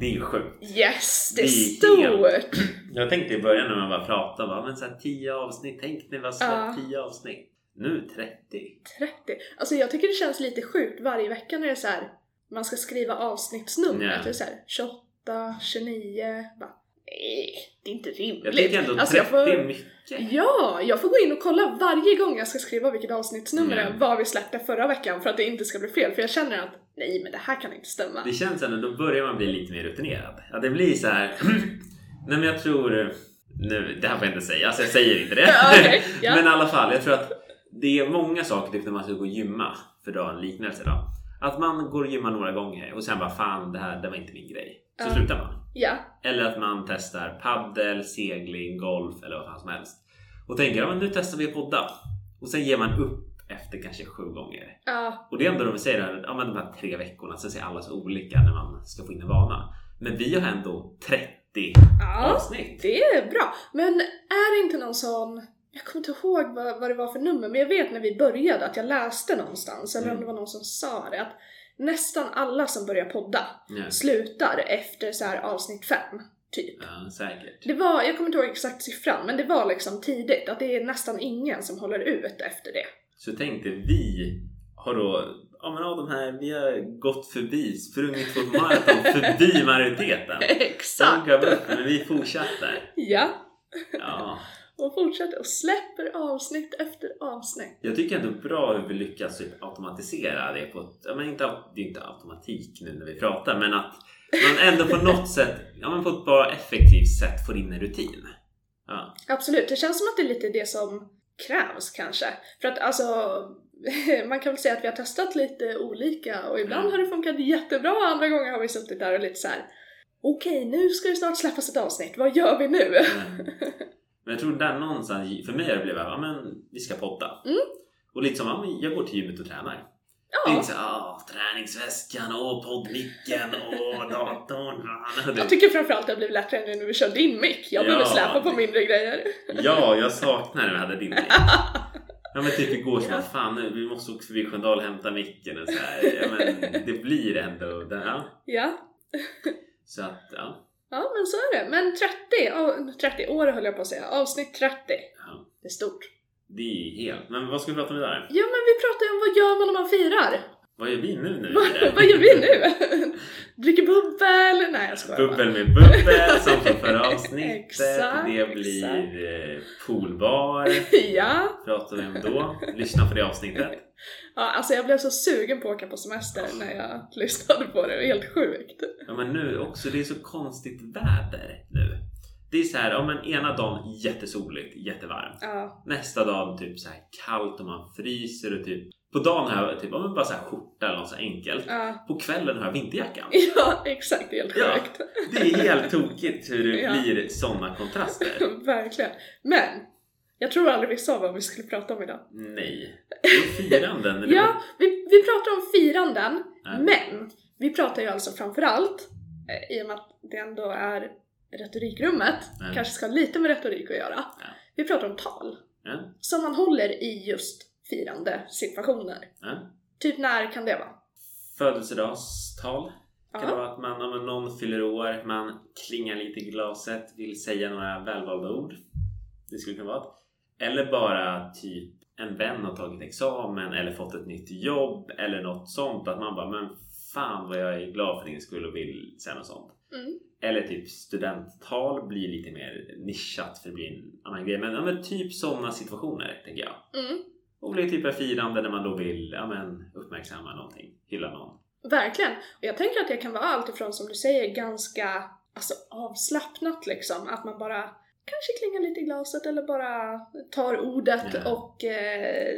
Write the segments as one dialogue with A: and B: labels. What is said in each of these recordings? A: Det är ju sjukt.
B: Yes, det är
A: Det är
B: stort!
A: Jag tänkte i början när man bara pratade, bara, men så här, 10 avsnitt, tänk när vi har
B: Ja.
A: släppt 10 avsnitt. Nu 30.
B: 30. Alltså jag tycker det känns lite sjukt varje vecka när det är så här, man ska skriva avsnittsnummer.
A: Ja.
B: Att det är så här, 28, 29. Bara, nej, det är inte rimligt.
A: Jag tycker ändå 30
B: Alltså, jag får-
A: är mycket.
B: Ja, jag får gå in och kolla varje gång jag ska skriva vilket avsnittsnummer det är,
A: Mm.
B: vad vi släppte förra veckan för att det inte ska bli fel. För jag känner att nej, men det här kan inte stämma.
A: Det känns ändå, då börjar man bli lite mer rutinerad. Ja, det blir så här. Nej men jag tror... eh, Nu, det här får jag inte säga, så jag säger inte det.
B: Ja, okej, ja.
A: Men i alla fall, jag tror att det är många saker typ när man ska gå och gymma, för att dra en liknelse då. Att man går och gymmar några gånger och sen bara fan det här det var inte min grej. Så
B: Ja.
A: slutar man.
B: Ja,
A: Eller att man testar paddel, segling, golf eller vad fan som helst. Och tänker ja, men nu testar vi att podda. Och sen ger man upp efter kanske sju gånger.
B: ja,
A: Och det är ändå de säger här, ja, men de här tre veckorna, sen ser alla så olika när man ska få in en vana. Men vi har ändå 30
B: ja.
A: avsnitt.
B: Det är bra. Men är det inte någon sån... Jag kommer inte ihåg vad, vad det var för nummer, men jag vet när vi började att jag läste någonstans, eller om
A: Mm.
B: det var någon som sa det, att nästan alla som börjar podda
A: Ja,
B: slutar efter så här avsnitt fem, typ.
A: ja, säkert.
B: Det var, jag kommer inte ihåg exakt siffran, men det var liksom tidigt att det är nästan ingen som håller ut efter det.
A: Så tänkte vi har då, ja men av de här, vi har gått förbi, sprungit på ett maraton förbi majoriteten.
B: Exakt!
A: De gav upp, men vi fortsätter.
B: Ja,
A: Ja.
B: och fortsätter och släpper avsnitt efter avsnitt.
A: Jag tycker ändå bra hur vi lyckas typ automatisera det på ett, ja, men inte, au- det är inte automatik nu när vi pratar men att man ändå på något sätt, ja men på ett bra effektivt sätt får in en rutin. Ja,
B: Absolut, det känns som att det är lite det som krävs kanske. För att alltså, man kan väl säga att vi har testat lite olika och ibland
A: Mm.
B: har det funkat jättebra och andra gånger har vi suttit där och lite så här. Okej, nu ska det snart släppas ett avsnitt, vad gör vi nu?
A: men, men jag tror där någonstans, för mig har det blivit ja men vi ska podda.
B: Mm.
A: Och lite som, ja, men jag går till gymmet och tränar. Det är
B: Ja,
A: inte så ah, träningsväskan och poddmicken och datorn. ah,
B: jag tycker framförallt det har blivit lättare nu när vi kör din mick. Jag behöver
A: Ja.
B: släpa på mindre grejer.
A: Ja, jag saknar när vi hade din mick. Ja men typ igår så bara, fan nu, vi måste åka förbi Sköndal och hämta micken och så här. Ja, men det blir ändå det. Ja.
B: Ja.
A: Så att, ja.
B: Ja, men så är det. Men 30, av- 30 år höll jag på att säga. Avsnitt 30.
A: ja.
B: Det är stort.
A: Det är helt. Men vad ska vi prata om idag?
B: Ja, men vi pratar ju om vad gör man om man firar?
A: Vad gör vi nu när vi är
B: Vad,
A: där?
B: vad gör vi nu? Dricker bubbel? Nej, jag skojar bara.
A: Bubbel med bubbel som från förra avsnittet.
B: Exakt,
A: det blir eh, poolbar.
B: Ja.
A: Pratar vi om då. Lyssna på det avsnittet.
B: ja, alltså jag blev så sugen på att åka på semester när jag lyssnade på det. Det var helt sjukt.
A: Ja men nu också, det är så konstigt väder nu. Det är så här, ja men ena dagen jättesoligt, jättevarmt.
B: Ja,
A: Nästa dag typ så här kallt och man fryser och typ på dagen har jag typ ja, men bara så här skjorta eller något så här enkelt.
B: ja,
A: På kvällen har jag vinterjackan.
B: ja exakt. Det är helt
A: Ja.
B: sjukt.
A: Det är helt tokigt hur det
B: Ja.
A: blir sådana kontraster.
B: Verkligen. Men, jag tror aldrig vi sa vad vi skulle prata om idag.
A: Nej. Det är firanden. eller
B: Ja, vi, vi pratar om firanden,
A: Ja.
B: men vi pratar ju alltså framförallt, eh, i och med att det ändå är retorikrummet,
A: Ja.
B: kanske ska ha lite med retorik att göra.
A: Ja.
B: Vi pratar om tal
A: Ja.
B: som man håller i just firande situationer.
A: Ja.
B: Typ när kan det vara?
A: Födelsedagstal. Det kan
B: Ja.
A: vara att man, ja, men någon fyller år, man klingar lite i glaset, vill säga några välvalda ord. Det skulle kunna vara ett. Eller bara typ en vän har tagit examen eller fått ett nytt jobb eller något sånt. Att man bara, men fan vad jag är glad för din skull och vill säga något sånt.
B: Mm.
A: Eller typ studenttal blir lite mer nischat för det blir en annan grej. Men, ja, men typ sådana situationer tänker jag.
B: Mm.
A: Och blir typ en firande när man då vill ja, men, uppmärksamma någonting, hylla någon.
B: Verkligen! Och jag tänker att det kan vara allt ifrån som du säger ganska alltså, avslappnat liksom, att man bara kanske klingar lite i glaset eller bara tar ordet
A: Ja.
B: och eh,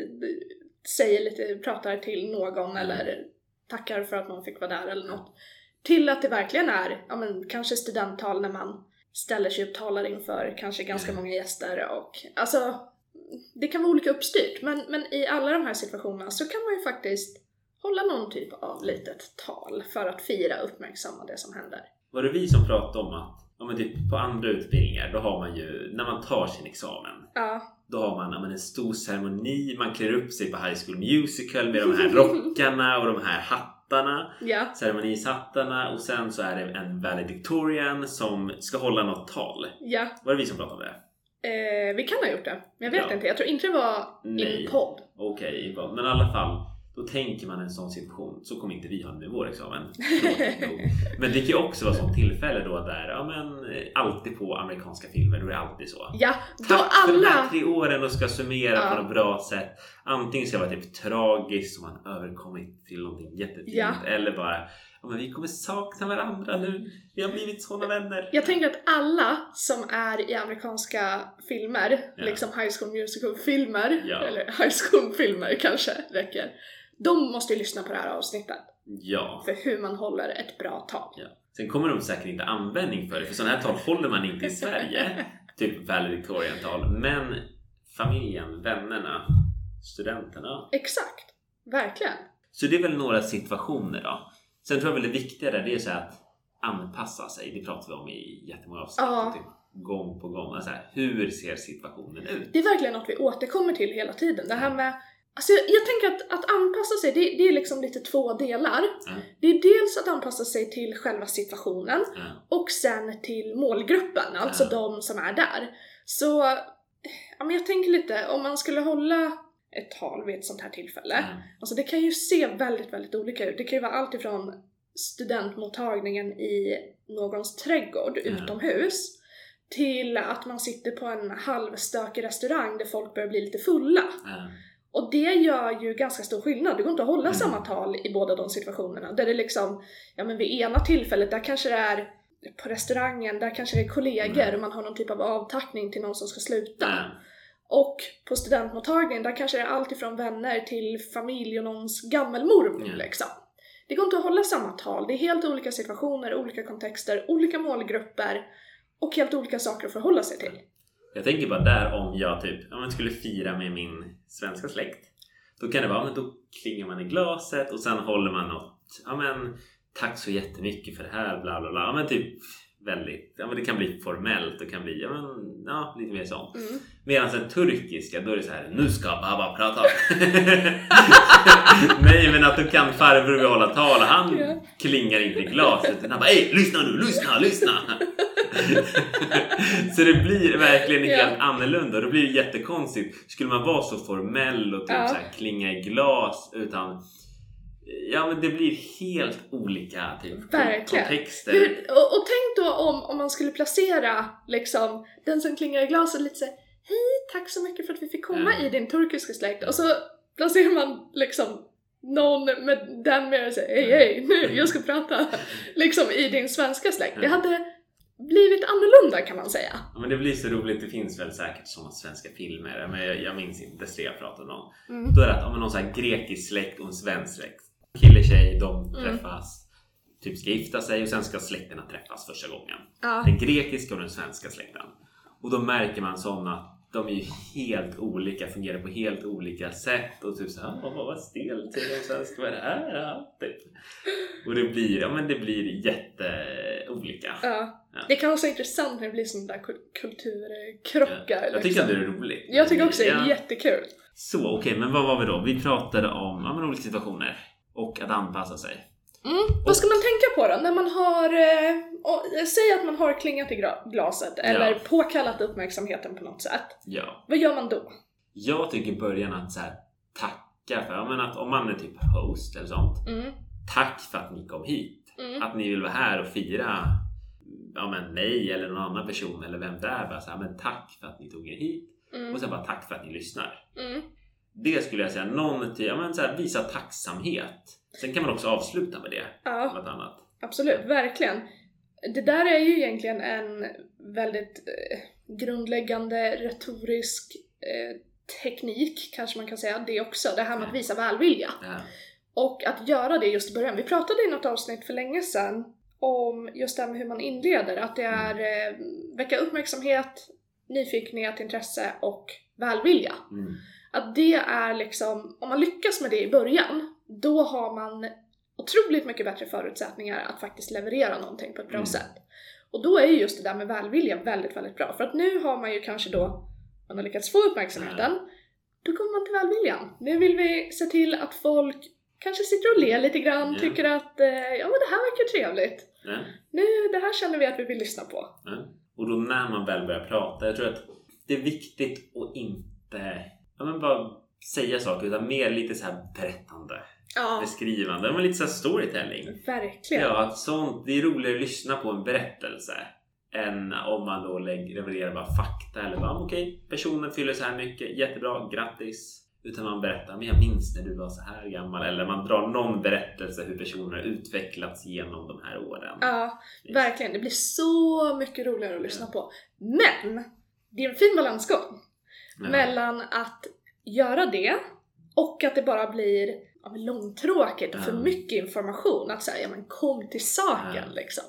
B: säger lite, pratar till någon eller tackar för att man fick vara där eller något. Till att det verkligen är, ja men kanske studenttal när man ställer sig upp, talar inför kanske ganska
A: Ja.
B: många gäster och alltså det kan vara olika uppstyrt men, men i alla de här situationerna så kan man ju faktiskt hålla någon typ av litet tal för att fira och uppmärksamma det som händer.
A: Var det vi som pratade om att ja, men typ på andra utbildningar, då har man ju, när man tar sin examen,
B: Ja,
A: då har man ja, men en stor ceremoni, man klär upp sig på High School Musical med de här rockarna och de här hattarna hattarna
B: Ja.
A: ceremonihattarna och sen så är det en valedictorian som ska hålla något tal.
B: Ja.
A: Var det vi som pratade om det?
B: Eh, vi kan ha gjort det. Men jag vet
A: Ja.
B: inte. Jag tror inte det var i
A: Nej.
B: en podd.
A: Okej, bra. men i alla fall. Då tänker man en sån situation. Så kommer inte vi ha det med vår examen. Tråkigt nog. Men det kan ju också vara sånt tillfälle då där, ja men eh, alltid på amerikanska filmer, då är det alltid så.
B: Ja, då
A: Tack för de här
B: alla...
A: tre åren och ska summera
B: Ja.
A: på något bra sätt. Antingen ska det vara typ tragiskt som man överkommit till någonting jättefint.
B: Ja.
A: Eller bara, ja men vi kommer sakna varandra nu. Vi har blivit såna vänner.
B: Jag tänker att alla som är i amerikanska filmer,
A: Ja.
B: liksom High School Musical-filmer,
A: Ja.
B: eller High School-filmer kanske räcker. De måste ju lyssna på det här avsnittet
A: Ja.
B: för hur man håller ett bra tal.
A: Ja. Sen kommer de säkert inte användning för det, för sådana här tal håller man inte i Sverige. typ valedictoriantal. Men familjen, vännerna, studenterna.
B: Exakt, verkligen.
A: Så det är väl några situationer då. Sen tror jag väl det viktiga där, det är så här att anpassa sig. Det pratar vi om i jättemånga avsnitt.
B: Ja.
A: Typ gång på gång. Alltså här, hur ser situationen ut?
B: Det är verkligen något vi återkommer till hela tiden. Det här med... Alltså jag, jag tänker att, att anpassa sig, det, det är liksom lite två delar.
A: Ja.
B: Det är dels att anpassa sig till själva situationen
A: Ja.
B: och sen till målgruppen, alltså
A: Ja.
B: de som är där. Så ja, men jag tänker lite, om man skulle hålla ett tal vid ett sånt här tillfälle,
A: Ja.
B: alltså det kan ju se väldigt, väldigt olika ut. Det kan ju vara allt ifrån studentmottagningen i någons trädgård
A: Ja.
B: utomhus till att man sitter på en halvstökig restaurang där folk börjar bli lite fulla.
A: Ja.
B: Och det gör ju ganska stor skillnad. Det går inte att hålla
A: Mm.
B: samma tal i båda de situationerna. Där det liksom, ja men vid ena tillfället, där kanske det är på restaurangen, där kanske det är kollegor
A: Mm.
B: och man har någon typ av avtackning till någon som ska sluta.
A: Ja.
B: Och på studentmottagningen, där kanske det är allt ifrån vänner till familj och någons gammelmormor
A: Mm.
B: liksom. Det går inte att hålla samma tal. Det är helt olika situationer, olika kontexter, olika målgrupper och helt olika saker att förhålla sig till.
A: Jag tänker bara där om jag typ om jag skulle fira med min svenska släkt. Då kan det vara, men då klingar man i glaset och sen håller man något. Ja men tack så jättemycket för det här bla bla bla. Ja men typ väldigt, ja men det kan bli formellt och kan bli, ja men ja lite mer sånt.
B: Mm.
A: Medan den turkiska då är det så här, nu ska Baba prata. Nej men att då kan farbror hålla tal och han
B: Ja.
A: klingar inte i glaset utan han bara Ey, lyssna nu, lyssna, lyssna! så det blir verkligen
B: Ja.
A: helt annorlunda och då blir det jättekonstigt. Skulle man vara så formell och typ
B: Ja.
A: så här, klinga i glas utan Ja men det blir helt olika typ,
B: Verkligen.
A: kontexter.
B: Hur, och, och tänk då om, om man skulle placera liksom, den som klingar i glaset lite såhär Hej, tack så mycket för att vi fick komma
A: Ja.
B: i din turkiska släkt och så placerar man liksom någon med den med och säger hej hej nu, jag ska prata liksom i din svenska släkt. Det
A: Ja.
B: hade blivit annorlunda kan man säga.
A: Ja, men det blir så roligt. Det finns väl säkert sådana svenska filmer. Men jag, jag minns inte. Destrea pratade om någon.
B: Mm.
A: Då är det att om någon så här grekisk släkt och en svensk släkt. Kille tjej, de
B: Mm.
A: träffas. Typ ska gifta sig och sen ska släkterna träffas första gången.
B: Ja.
A: Den grekiska och den svenska släkten. Och då märker man sådana att de är ju helt olika, fungerar på helt olika sätt och typ såhär, vad vad stelt, till de svenska, vad är det här? Ja, typ. Och det blir, ja men det blir jätteolika.
B: Ja.
A: Ja.
B: Det kan vara så intressant när det blir sådana där kul- kulturkrockar.
A: Jag tycker
B: liksom.
A: att det är roligt.
B: jag tycker också det är
A: Ja.
B: jättekul.
A: Så okej, men vad var vi då? Vi pratade om ja, men olika situationer och att anpassa sig.
B: Vad ska man tänka på då? När man har, eh, och, eh, säg att man har klingat i gra- glaset eller
A: Ja.
B: påkallat uppmärksamheten på något sätt.
A: Ja,
B: Vad gör man då?
A: jag tycker i början att så här, tacka för, ja, men att om man är typ host eller sånt.
B: Mm,
A: Tack för att ni kom hit.
B: mm,
A: Att ni vill vara här och fira ja, men mig eller någon annan person eller vem det är. Bara så här, men tack för att ni tog er hit.
B: mm,
A: Och sen bara tack för att ni lyssnar.
B: mm.
A: Det skulle jag säga, någon till, ja, men så här, visa tacksamhet. Sen kan man också avsluta med det.
B: Ja,
A: Något annat.
B: absolut, verkligen. Det där är ju egentligen en väldigt eh, grundläggande retorisk eh, teknik, kanske man kan säga det också. Det här med att visa välvilja.
A: Ja.
B: Och att göra det just i början. Vi pratade i något avsnitt för länge sedan om just det här med hur man inleder. Att det är eh, väcka uppmärksamhet, nyfikenhet, intresse och välvilja.
A: Mm.
B: Att det är liksom, om man lyckas med det i början, då har man otroligt mycket bättre förutsättningar att faktiskt leverera någonting på ett bra
A: Mm.
B: sätt. Och då är ju just det där med välvilja väldigt, väldigt bra. För att nu har man ju kanske då, man har lyckats få uppmärksamheten, då kommer man till välviljan. Nu vill vi se till att folk kanske sitter och ler lite grann,
A: Ja.
B: tycker att eh, ja, men det här verkar trevligt.
A: Ja.
B: Nu, det här känner vi att vi vill lyssna på.
A: Och då när man väl börjar prata, jag tror att det är viktigt att inte ja, men bara säga saker utan mer lite så här berättande,
B: Ja,
A: beskrivande, men lite så här storytelling.
B: verkligen.
A: Ja, att sånt, det är roligare att lyssna på en berättelse än om man då lägger- levererar bara fakta eller bara "Ah, okej, personen fyller så här mycket, jättebra, grattis. Utan man berättar, men jag minns när du var så här gammal. Eller man drar någon berättelse hur personer har utvecklats genom de här åren.
B: Ja,
A: Yes.
B: verkligen. Det blir så mycket roligare att lyssna på. Men! Det är en fin balansgång
A: Ja.
B: mellan att göra det och att det bara blir ja, men långtråkigt och för
A: Ja.
B: mycket information. Att säga ja, men kom till saken
A: Ja.
B: liksom.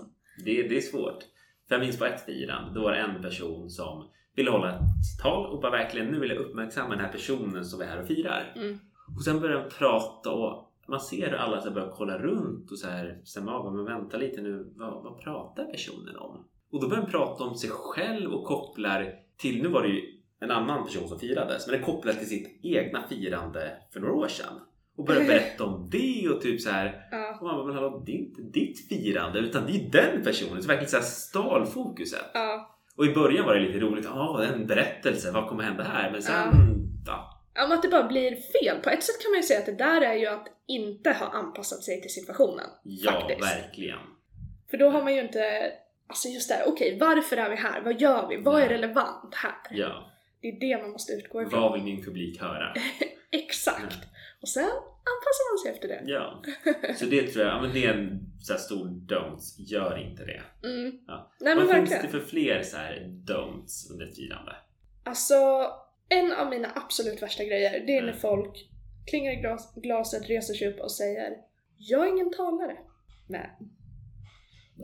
A: Det, det är svårt. För jag minns på ett firande, då var det en person som ville hålla ett tal och bara verkligen nu vill jag uppmärksamma den här personen som är här och firar.
B: Mm.
A: Och sen börjar de prata och man ser hur alla så här börjar kolla runt och så här stämma av. Men vänta lite nu, vad, vad pratar personen om? Och då börjar de prata om sig själv och kopplar till, nu var det ju en annan person som firades, men det kopplar till sitt egna firande för några år sedan. Och börjar berätta om det och typ så här
B: Ja.
A: och man bara, men hallå, det är inte ditt firande utan det är den personen som verkligen så här stal fokuset.
B: Ja.
A: Och i början var det lite roligt, ja det är en berättelse, vad kommer hända här? Men sen, ja.
B: Ja, men att det bara blir fel. På ett sätt kan man ju säga att det där är ju att inte ha anpassat sig till situationen.
A: Ja,
B: Faktiskt.
A: verkligen.
B: För då har man ju inte, alltså just det här, okej varför är vi här? Vad gör vi? Vad är relevant här?
A: Ja.
B: Det är det man måste utgå ifrån.
A: Vad vill min publik höra?
B: Exakt! Och sen anpassar man sig efter det.
A: Ja. Så det tror jag, ja, men det är en så här stor don'ts, gör inte det.
B: Mm.
A: Ja.
B: Nej men
A: vad finns det
B: verkligen.
A: för fler så här don'ts under ett firande?
B: Alltså, en av mina absolut värsta grejer, det är när
A: Mm.
B: folk klingar i glas, glaset, reser sig upp och säger Jag är ingen talare. Nej.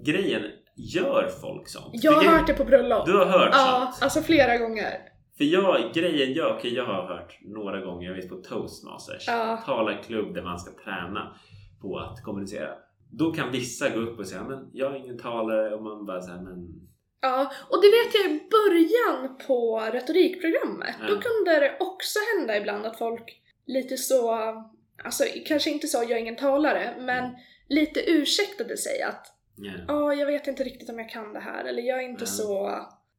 A: Grejen, gör folk sånt?
B: Jag har
A: Vilken-
B: hört det på bröllop.
A: Du har hört
B: Ja,
A: sånt?
B: alltså flera gånger.
A: För jag, grejen jag, okej, jag har hört några gånger, jag vet på toastmasters,
B: Ja.
A: talarklubb där man ska träna på att kommunicera. Då kan vissa gå upp och säga men jag är ingen talare och man bara såhär men
B: Ja, och det vet jag i början på retorikprogrammet. Då
A: Mm.
B: kunde det också hända ibland att folk lite så, alltså kanske inte sa jag är ingen talare, men lite ursäktade sig att
A: nej.
B: ja, jag vet inte riktigt om jag kan det här, eller jag är inte
A: Mm.
B: så...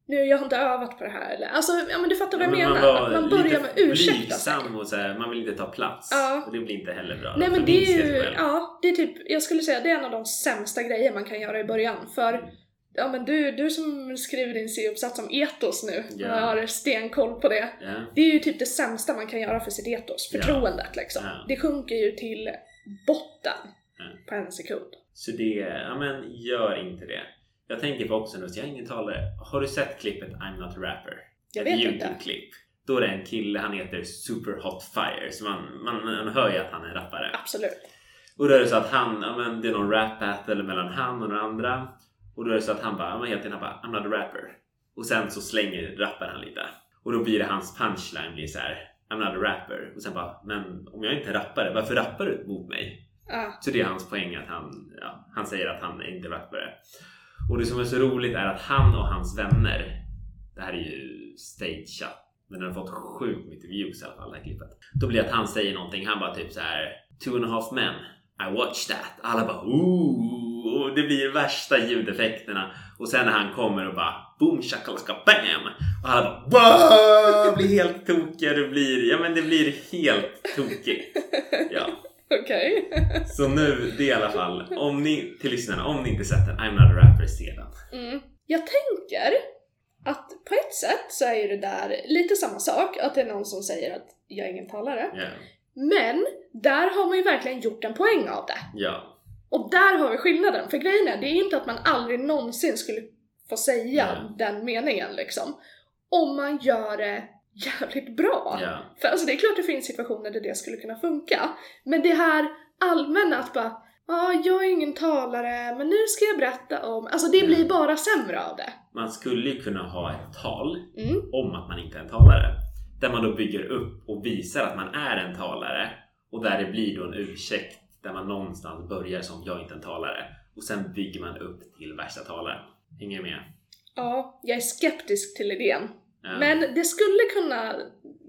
B: Nu, jag har inte övat på det här, eller... Alltså, ja men du fattar vad jag
A: Men
B: menar.
A: var
B: att man börjar
A: lite
B: med att ursäkta sig.
A: blygsam och så här, man vill inte ta plats.
B: Ja.
A: Och det blir inte heller bra.
B: Nej
A: Då
B: men det är
A: förminskar sig
B: ju,
A: själv.
B: ja, det är typ, jag skulle säga det är en av de sämsta grejer man kan göra i början. För, ja men du, du som skriver din C-uppsats om etos nu,
A: Ja.
B: jag har stenkoll på det.
A: Ja.
B: Det är ju typ det sämsta man kan göra för sitt etos,
A: Ja.
B: förtroendet liksom.
A: Ja.
B: Det sjunker ju till botten
A: Ja.
B: på en sekund.
A: Så det, ja men gör inte det. Jag tänker på också nu, så jag är ingen talare. Har du sett klippet I'm not a rapper?
B: Jag
A: Ett
B: vet inte.
A: Youtube-klipp. Då är det en kille, han heter Super Hot Fire. Så man, man, man hör ju att han är en rappare.
B: Absolut.
A: Och då är det så att han, ja men det är någon rap battle mellan han och några andra. Och då är det så att han bara, ja men helt enkelt han bara I'm not a rapper. Och sen så slänger, rappar han lite. Och då blir det hans punchline blir så här I'm not a rapper. Och sen bara, men om jag inte är rappare, varför rappar du mot mig?
B: Ja.
A: Så det är hans poäng att han, ja, han säger att han är inte rappare. Och det som är så roligt är att han och hans vänner, det här är ju stageat, men den har fått sjukt mycket views i alla fall det här klippet. Då blir det att han säger någonting, han bara typ så här two and a half men, I watched that. Alla bara ooh, och det blir värsta ljudeffekterna. Och sen när han kommer och bara boom shakalaka bam och alla bara wow, blir helt tokiga. Det blir, ja men det blir helt tokigt. Ja.
B: Okej.
A: Så nu, det i alla fall. Om ni, till lyssnarna, om ni inte sett den, I'm not a rapper, se den.
B: Mm. Jag tänker att på ett sätt så är ju det där lite samma sak, att det är någon som säger att jag är ingen talare.
A: Ja.
B: Men där har man ju verkligen gjort en poäng av det.
A: ja.
B: Och där har vi skillnaden, för grejen är, det är inte att man aldrig någonsin skulle få säga
A: Nej.
B: den meningen liksom. Om man gör det jävligt bra.
A: ja.
B: För alltså det är klart det finns situationer där det skulle kunna funka, men det här allmänna att bara Ja, jag är ingen talare, men nu ska jag berätta om... Alltså det blir
A: Mm.
B: bara sämre av det.
A: Man skulle ju kunna ha ett tal
B: Mm.
A: om att man inte är en talare. Där man då bygger upp och visar att man är en talare och där det blir då en ursäkt där man någonstans börjar som jag är inte en talare och sen bygger man upp till värsta talaren. Hänger ni med?
B: Ja, jag är skeptisk till idén.
A: Ja.
B: Men det skulle kunna...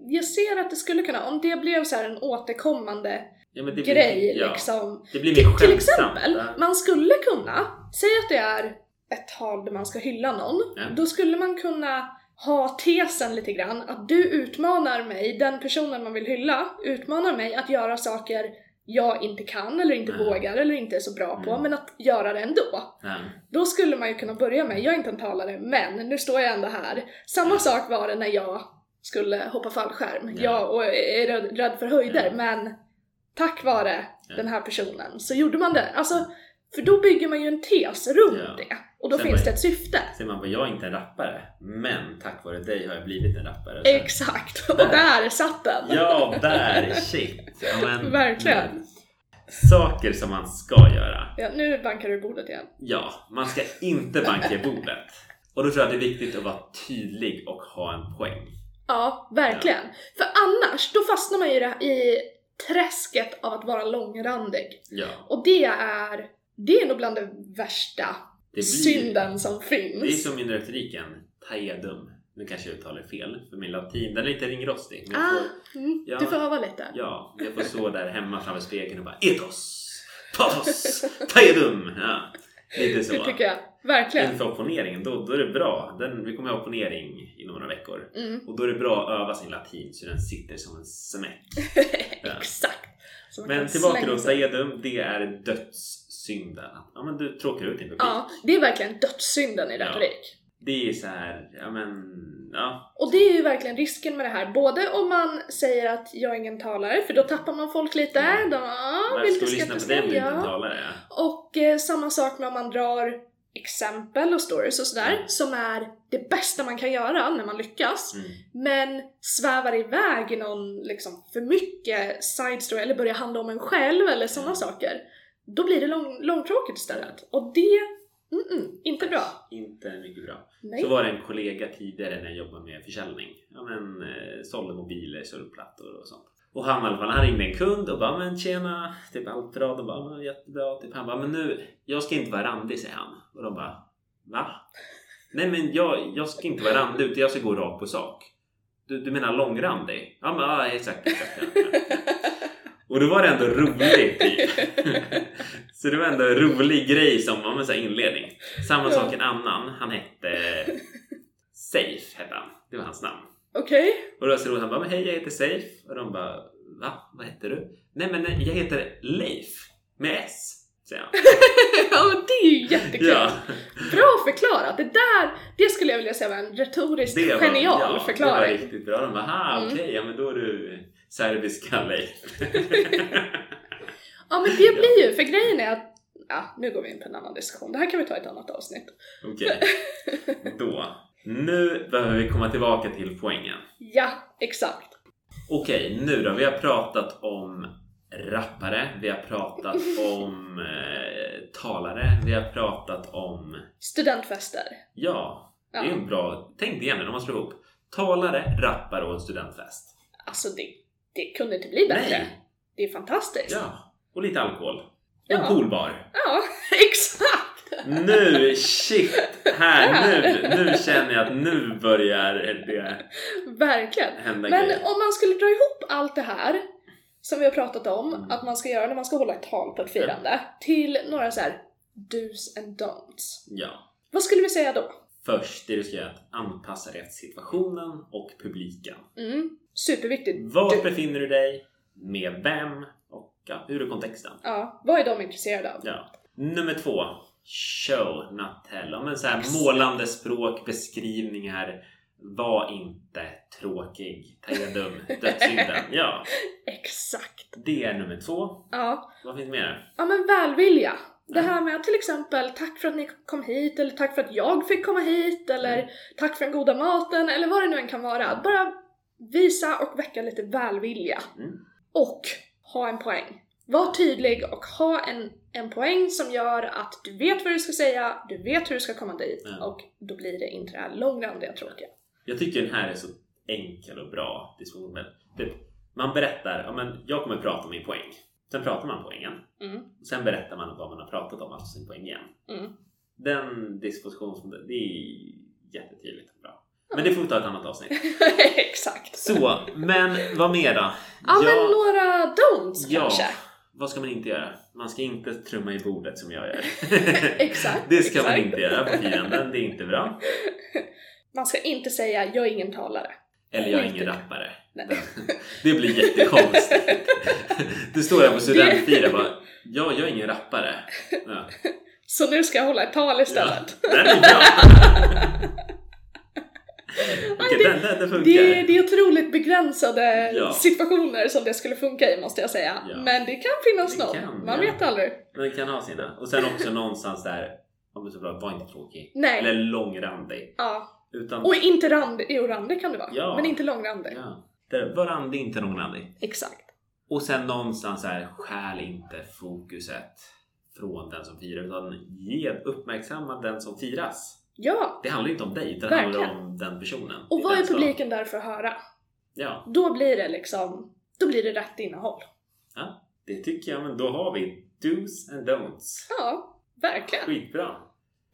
B: Jag ser att det skulle kunna, om det blev så här en återkommande
A: Ja, men det blir-
B: grej
A: ja.
B: liksom.
A: Det blir mer
B: Till,
A: skämtsamt.
B: till exempel,
A: va?
B: man skulle kunna, säg att det är ett tal där man ska hylla någon,
A: Ja.
B: då skulle man kunna ha tesen lite grann att du utmanar mig, den personen man vill hylla, utmanar mig att göra saker jag inte kan eller inte
A: Mm.
B: vågar eller inte är så bra på,
A: Mm.
B: men att göra det ändå.
A: Ja.
B: Då skulle man ju kunna börja med, jag är inte en talare, men nu står jag ändå här. Samma sak var det när jag skulle hoppa fallskärm.
A: Ja.
B: Jag och är röd- rädd för höjder,
A: Ja.
B: men tack vare
A: Ja.
B: den här personen så gjorde man det. Alltså, för då bygger man ju en tes runt
A: Ja.
B: det och då
A: Sen
B: finns
A: var-
B: det ett syfte.
A: Ser man på, jag är inte en rappare, men tack vare dig har jag blivit en rappare. Så-
B: Exakt, och där satt den!
A: Ja, där! Shit! Ja, men,
B: Verkligen.
A: men. Saker som man ska göra.
B: Ja, nu bankar du bordet igen.
A: Ja, man ska inte banka i bordet. Och då tror jag att det är viktigt att vara tydlig och ha en poäng.
B: Ja, verkligen. För annars, då fastnar man ju i det- i träsket av att vara långrandig.
A: Ja,
B: Och det är, det är nog bland det värsta
A: det blir,
B: synden som
A: Det är
B: finns.
A: som i retoriken, taedum. Nu kanske jag uttalar fel, för min latin den är lite ringrostig. Men jag
B: Ah,
A: får,
B: mm,
A: Ja.
B: Du får öva lite.
A: ja, jag får stå där hemma framför spegeln och bara etos, patos, taedum. Ja, lite så.
B: det tycker jag. Verkligen.
A: Inför opponeringen, då, då är det bra. Den, vi kommer ha opponering inom några veckor.
B: Mm.
A: Och då är det bra att öva sin latin så den sitter som en smäck. Ja.
B: Exakt. Så man
A: Men
B: kan
A: tillbaka
B: slänga
A: till
B: sig.
A: Taedum, det är dödssynden. Ja men du tråkar ut din publik.
B: Ja, det är verkligen dödssynden i
A: Ja.
B: retorik.
A: Det är så här, ja men, ja.
B: Och det är ju verkligen risken med det här. Både om man säger att jag är ingen talare, för då tappar man folk lite.
A: Ja.
B: De, ah,
A: Varför ska
B: vilka
A: vi
B: ska
A: lyssna
B: jag
A: på dig om du inte är en
B: säga?
A: talare?
B: Och eh, samma sak när man drar exempel och stories och sådär, som är det bästa man kan göra när man lyckas.
A: Mm.
B: men svävar iväg i någon liksom, för mycket side story eller börjar handla om en själv eller
A: Mm.
B: sådana saker. Då blir det lång, långtråkigt istället. Och det, mm-mm, inte bra.
A: Inte mycket bra. Så
B: Nej.
A: var det en kollega tidigare när jag jobbade med försäljning. Ja men, eh, sålde mobiler, surfplattor och sånt. Och han i alla fall, han ringde en kund och bara men tjena, typ allt bra? De bara men, jättebra. Typ, han bara men nu, jag ska inte vara randig säger han. Och de bara va? Nej men jag, jag ska inte vara randig utan jag ska gå rakt på sak. Du, du menar långrandig? Ja men ja, exakt. exakt ja, ja. Och då var det ändå roligt typ. Så det var ändå en rolig grej som ja, men, så här inledning. Samma
B: Ja.
A: sak en annan, han hette Safe hette han. Det var hans namn.
B: Okej.
A: Och då så roligt, han bara men hej jag heter Safe. Och de bara va? Vad heter du? Nej men nej, jag heter Leif med S. Säger han.
B: ja men det är ju jättekul.
A: Ja,
B: Bra förklarat! Det där, det skulle jag vilja säga var en retoriskt
A: det var,
B: genial
A: ja, Det var
B: förklaring.
A: riktigt bra. De bara ha
B: Mm.
A: okej, ja men då är du serbiska Leif.
B: Ja men det blir ju, för grejen är att, ja nu går vi in på en annan diskussion, det här kan vi ta i ett annat avsnitt.
A: Okej, då. Nu behöver vi komma tillbaka till poängen.
B: Ja, exakt.
A: Okej, nu då. Vi har pratat om rappare, vi har pratat om eh, talare, vi har pratat om...
B: Studentfester.
A: Ja, det är
B: Ja.
A: en bra... Tänk dig igen nu när man slår ihop. Talare, rappare och en studentfest.
B: Alltså det, det kunde inte bli bättre.
A: Nej.
B: Det är fantastiskt.
A: Ja, och lite alkohol. Och
B: Ja.
A: En poolbar.
B: Ja, exakt!
A: Nu, shit! Här, nu, nu känner jag att nu börjar det
B: Verkligen.
A: hända
B: Men
A: grejer.
B: om man skulle dra ihop allt det här som vi har pratat om
A: Mm.
B: att man ska göra när man ska hålla ett tal på ett firande till några så här do's and don'ts.
A: Ja.
B: Vad skulle vi säga då?
A: Först, det du ska göra är att anpassa dig till situationen och publiken.
B: Mm, superviktigt.
A: Var
B: Du.
A: befinner du dig? Med vem? Och ja, hur är kontexten?
B: Ja, vad är de intresserade av?
A: Ja. Nummer två. Show, not tell. Ja, Men så här,
B: Yes.
A: Målande språk, beskrivningar. Var inte tråkig. Tagga dum. Dödssynden. Ja,
B: Exakt.
A: det är nummer två.
B: Ja.
A: Vad finns mer?
B: ja, men välvilja. Det här med att till exempel tack för att ni kom hit eller tack för att jag fick komma hit eller
A: Mm.
B: tack för den goda maten eller vad det nu än kan vara. Att Bara visa och väcka lite välvilja.
A: Mm.
B: Och ha en poäng. Var tydlig och ha en, en poäng som gör att du vet vad du ska säga, du vet hur du ska komma dit
A: Ja.
B: och då blir det inte det här långrandiga tråkiga.
A: Jag tycker den här är så enkel och bra diskussionen. Typ, man berättar, ja, men jag kommer prata om min poäng. Sen pratar man poängen.
B: Mm.
A: Sen berättar man vad man har pratat om, alltså sin poäng igen.
B: Mm.
A: Den dispositionen, det är jättetydligt och bra. Men det får vi ta ett annat avsnitt.
B: Exakt.
A: Så, men vad mer då?
B: Ja,
A: Jag-
B: men några don'ts
A: Ja.
B: kanske.
A: Vad ska man inte göra? Man ska inte trumma i bordet som jag gör.
B: Exakt,
A: Det ska man
B: exakt.
A: inte göra på fienden, det är inte bra.
B: Man ska inte säga jag är ingen talare.
A: Eller jag är
B: Inte.
A: ingen rappare.
B: Nej.
A: Det blir jättekonstigt. Du står där på studentfira och bara Ja, jag är ingen rappare. Ja.
B: Så nu ska jag hålla ett tal istället.
A: Ja, den är bra! Okej,
B: det-
A: den, den, den funkar.
B: Det, är- det är otroligt begränsade
A: Ja.
B: situationer som det skulle funka i måste jag säga.
A: Ja.
B: Men det kan finnas
A: Det
B: någon.
A: kan,
B: Man
A: ja.
B: vet aldrig.
A: Men den kan ha sina. Och sen också någonstans där, om det är så bra, var inte tråkig.
B: Nej.
A: Eller långrandig.
B: Ja.
A: Utan,
B: Och inte rand, jo randig kan det vara.
A: Ja.
B: Men inte långrandig.
A: ja, där, var randig, inte långrandig.
B: Exakt.
A: Och sen någonstans här, stjäl inte fokuset från den som firar. Utan ge uppmärksamma den som firas.
B: Ja.
A: Det handlar inte om dig, utan det
B: Verkligen.
A: handlar om den personen.
B: Och
A: Det
B: vad är
A: den som-
B: publiken där för att höra?
A: Ja,
B: Då blir det liksom, då blir det rätt innehåll.
A: det tycker jag. Men då har vi do's and don'ts.
B: Ja, verkligen.
A: Skitbra!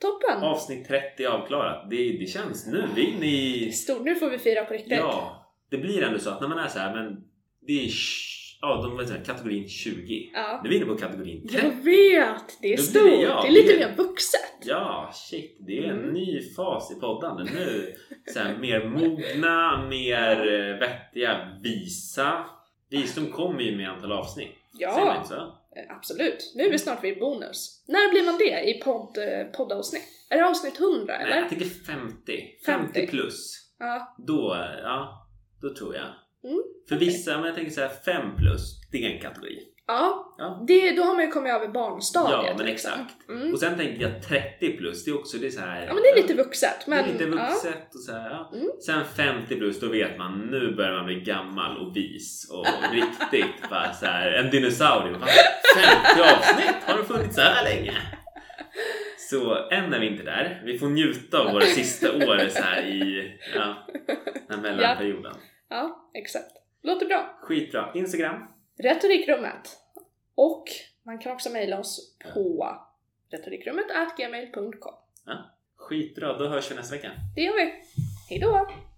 B: Toppen.
A: Avsnitt 30 avklarat. Det, det känns nu. Vi är inne i...
B: Stort, nu får vi fira på riktigt.
A: Ja, det blir ändå så att när man är så här, men det är... tj- Ja, de vad säger, kategorin 20.
B: Ja.
A: Nu är vi inne på kategorin 30.
B: Jag vet, det är
A: Då
B: stort.
A: blir det jag.
B: Det är lite
A: Det är-
B: mer vuxet.
A: Ja, shit. Det är en
B: Mm.
A: ny fas i podden nu. Så här, mer mogna, mer eh, vettiga, visa. Visdom kommer ju med antal avsnitt. Säger man
B: Ja,
A: inte så?
B: eh, absolut. Nu är vi snart vid bonus. När blir man det i podd, eh, poddavsnitt? Är det avsnitt 100
A: Nej, jag
B: eller?
A: tycker 50.
B: 50.
A: 50 plus.
B: Ja,
A: Då, eh, ja, då tror jag.
B: Mm,
A: För
B: okej.
A: vissa, men jag tänker så här 5 plus, det är en kategori.
B: ja.
A: Ja.
B: Det, då har man ju kommit över barnstadiet.
A: Ja, men
B: liksom.
A: exakt.
B: Mm.
A: Och sen tänker jag 30 plus, det är också det är så här,
B: Ja, men det är lite vuxet.
A: det är
B: Men,
A: lite
B: Ja.
A: vuxet och så här, ja.
B: Mm.
A: Sen 50 plus, då vet man nu börjar man bli gammal och vis och riktigt bara så här, en dinosaurie. Bara, 50 avsnitt, har de funnits så här länge? Så än är vi inte där. Vi får njuta av våra sista år så här i ja, den här mellanperioden.
B: ja, exakt. Låter bra.
A: Skitbra. Instagram.
B: Retorikrummet. Och man kan också mejla oss på retorikrummet@gmail.com.
A: Skitbra, då hörs vi nästa vecka.
B: Det gör vi. Hejdå!